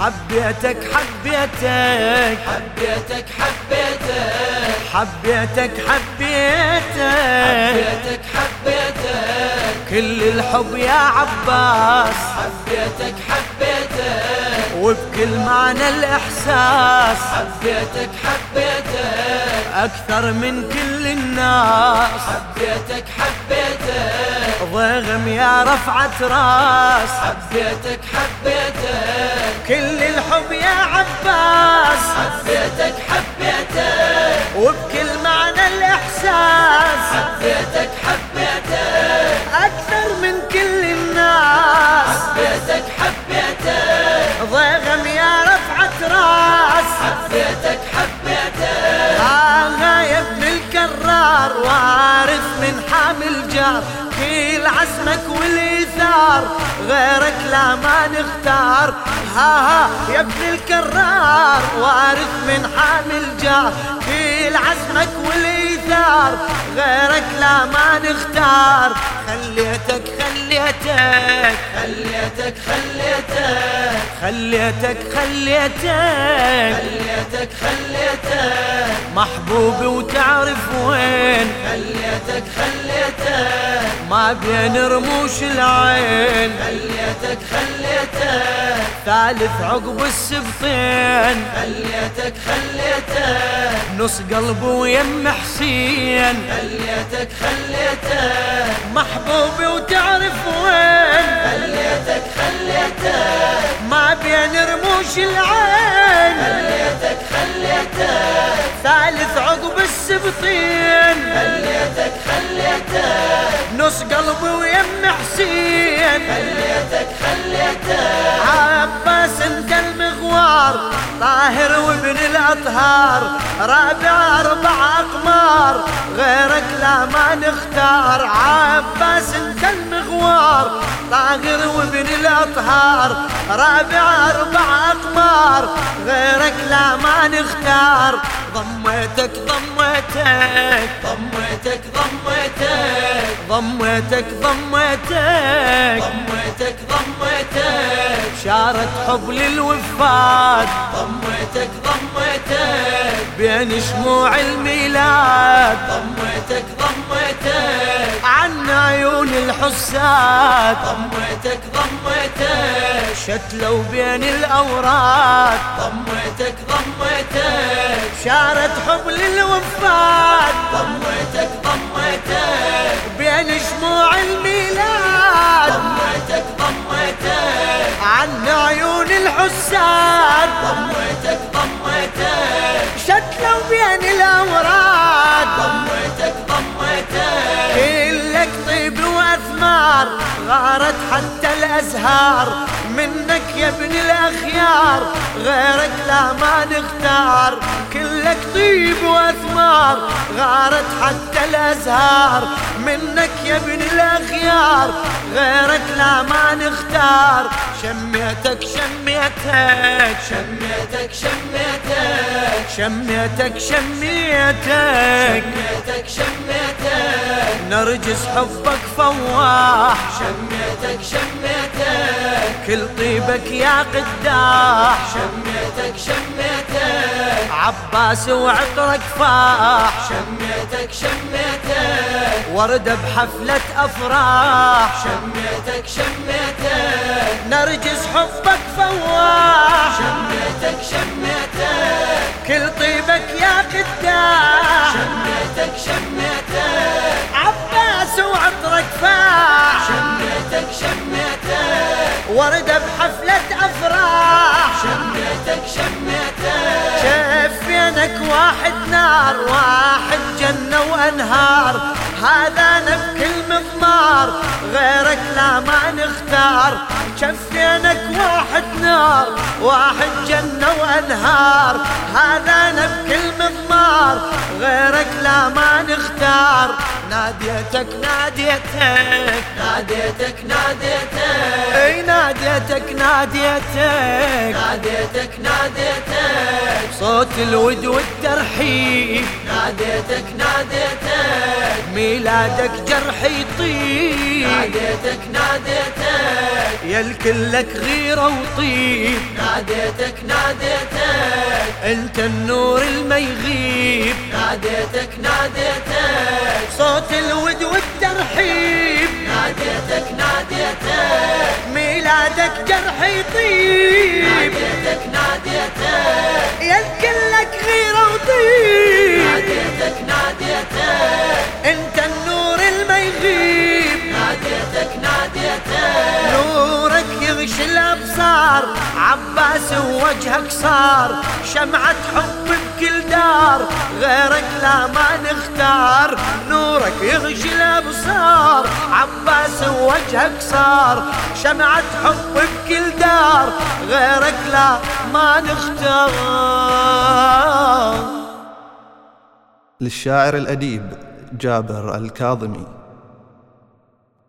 حبيتك حبيتك حبيتك حبيتك حبيتك حبيتك حبيتك حبيتك حبيتك حبيتك كل الحب يا عباس حبيتك حبيتك وبكل معنى الإحساس حبيتك حبيتك أكثر من كل الناس حبيتك حبيتك ضغم يا رفعة راس حبيتك حبيتك كل الحب يا عباس حبيتك حبيتك وبكل معنى الإحساس حبيتك حبيتك أكثر من كل الناس حبيتك حبيتك ضغم يا رفعة راس حبيتك حبيتك أنا يا ابن الكرار وارث من حامل جار كيل عزمك والإيثار غيرك لا ما نختار ها ها يا ابن الكرار وارث من حامل جار كيل عزمك والإيثار غيرك لا ما نختار خليتك خليتك خليتك خليتك خليتك خليتك خليتك خليتك محبوبي وتعرف وين خليتك خليتك ما بين رموش العين خليتك خليتك ثالث عقب السبطين خليتك خليتك نص قلبه ويم حسين خليتك خليتك محبوبي وتعرف وين خليتك خليتك ما بين رموش العين خليتك خليتك ثالث عقب السبطين خليتك خليتك نص قلبه ويم حسين خليتك خليتك عباس انت المغوار طاهر وابن الاطهار رابع اربع اقمار غيرك لا ما نختار عباس انت المغوار طاهر وابن الاطهار رابع اربع اقمار غيرك لا ما نختار ضميتك ضميتك ضميتك ضميتك ضميتك ضميتك ضميتك ضميتك شارة حب للوفاد ضميتك ضميتك بين شموع الميلاد ضميتك ضميتك عن عيون الحساد ضميتك ضميتك شتلوا بين الأوراد ضميتك ضميتك شارة حب للوفاد ضميتك ضميتك بين شموع الميلاد ضميتك ضميتك عن عيون الحساد ضميتك ضميتك شتلوا بين الأوراد ضميتك ضميتك كلك طيب واثمار غارت حتى الازهار منك يا ابن الاخيار غيرك لا ما نختار كلك طيب واثمار غارت حتى الازهار منك يا ابن الاخيار غيرك لا ما نختار شميتك شميتك شميتك شميتك شميتك شميتك شميتك شميتك نرجس حبك فواح شميتك شميتك كل طيبك يا قداح شميتك شميتك عباس وعطرك فاح شميتك شميتك وردة بحفلة أفراح شميتك شميتك نرجس حبك فواح شميتك شميتك كل طيبك يا قداح شميتك شميتك عباس وعطرك فاح شميتك شميتك وردة بحفلة أفراح شميتك شميتك شفينك واحد نار واحد جنة وأنهار هذا بكل مضمار غيرك لا ما نختار شفينك واحد نار واحد جنة وأنهار هذا بكل مضمار غيرك لا ما نختار ناديتك ناديتك ناديتك ناديتك اي ناديتك ناديتك ناديتك ناديتك صوت الود والترحيب ناديتك ناديتك ميلادك جرح يطيب ناديتك ناديتك يا الكل لك غيرة وطيب ناديتك ناديتك انت النور الميغيب ناديتك ناديتك صوت الود والترحيب ناديتك ناديتك ميلادك جرح يطيب ناديتك ناديتك يا الكل لك غيرة وطيب ناديتك ناديتك انت النور الميغيب ناديتك ناديتك نورك يغشي الابصار عباس ووجهك صار شمعة حب بكل دار غيرك لا ما نختار نورك يغشي الابصار عباس ووجهك صار شمعة حب بكل دار غيرك لا ما نختار للشاعر الأديب جابر الكاظمي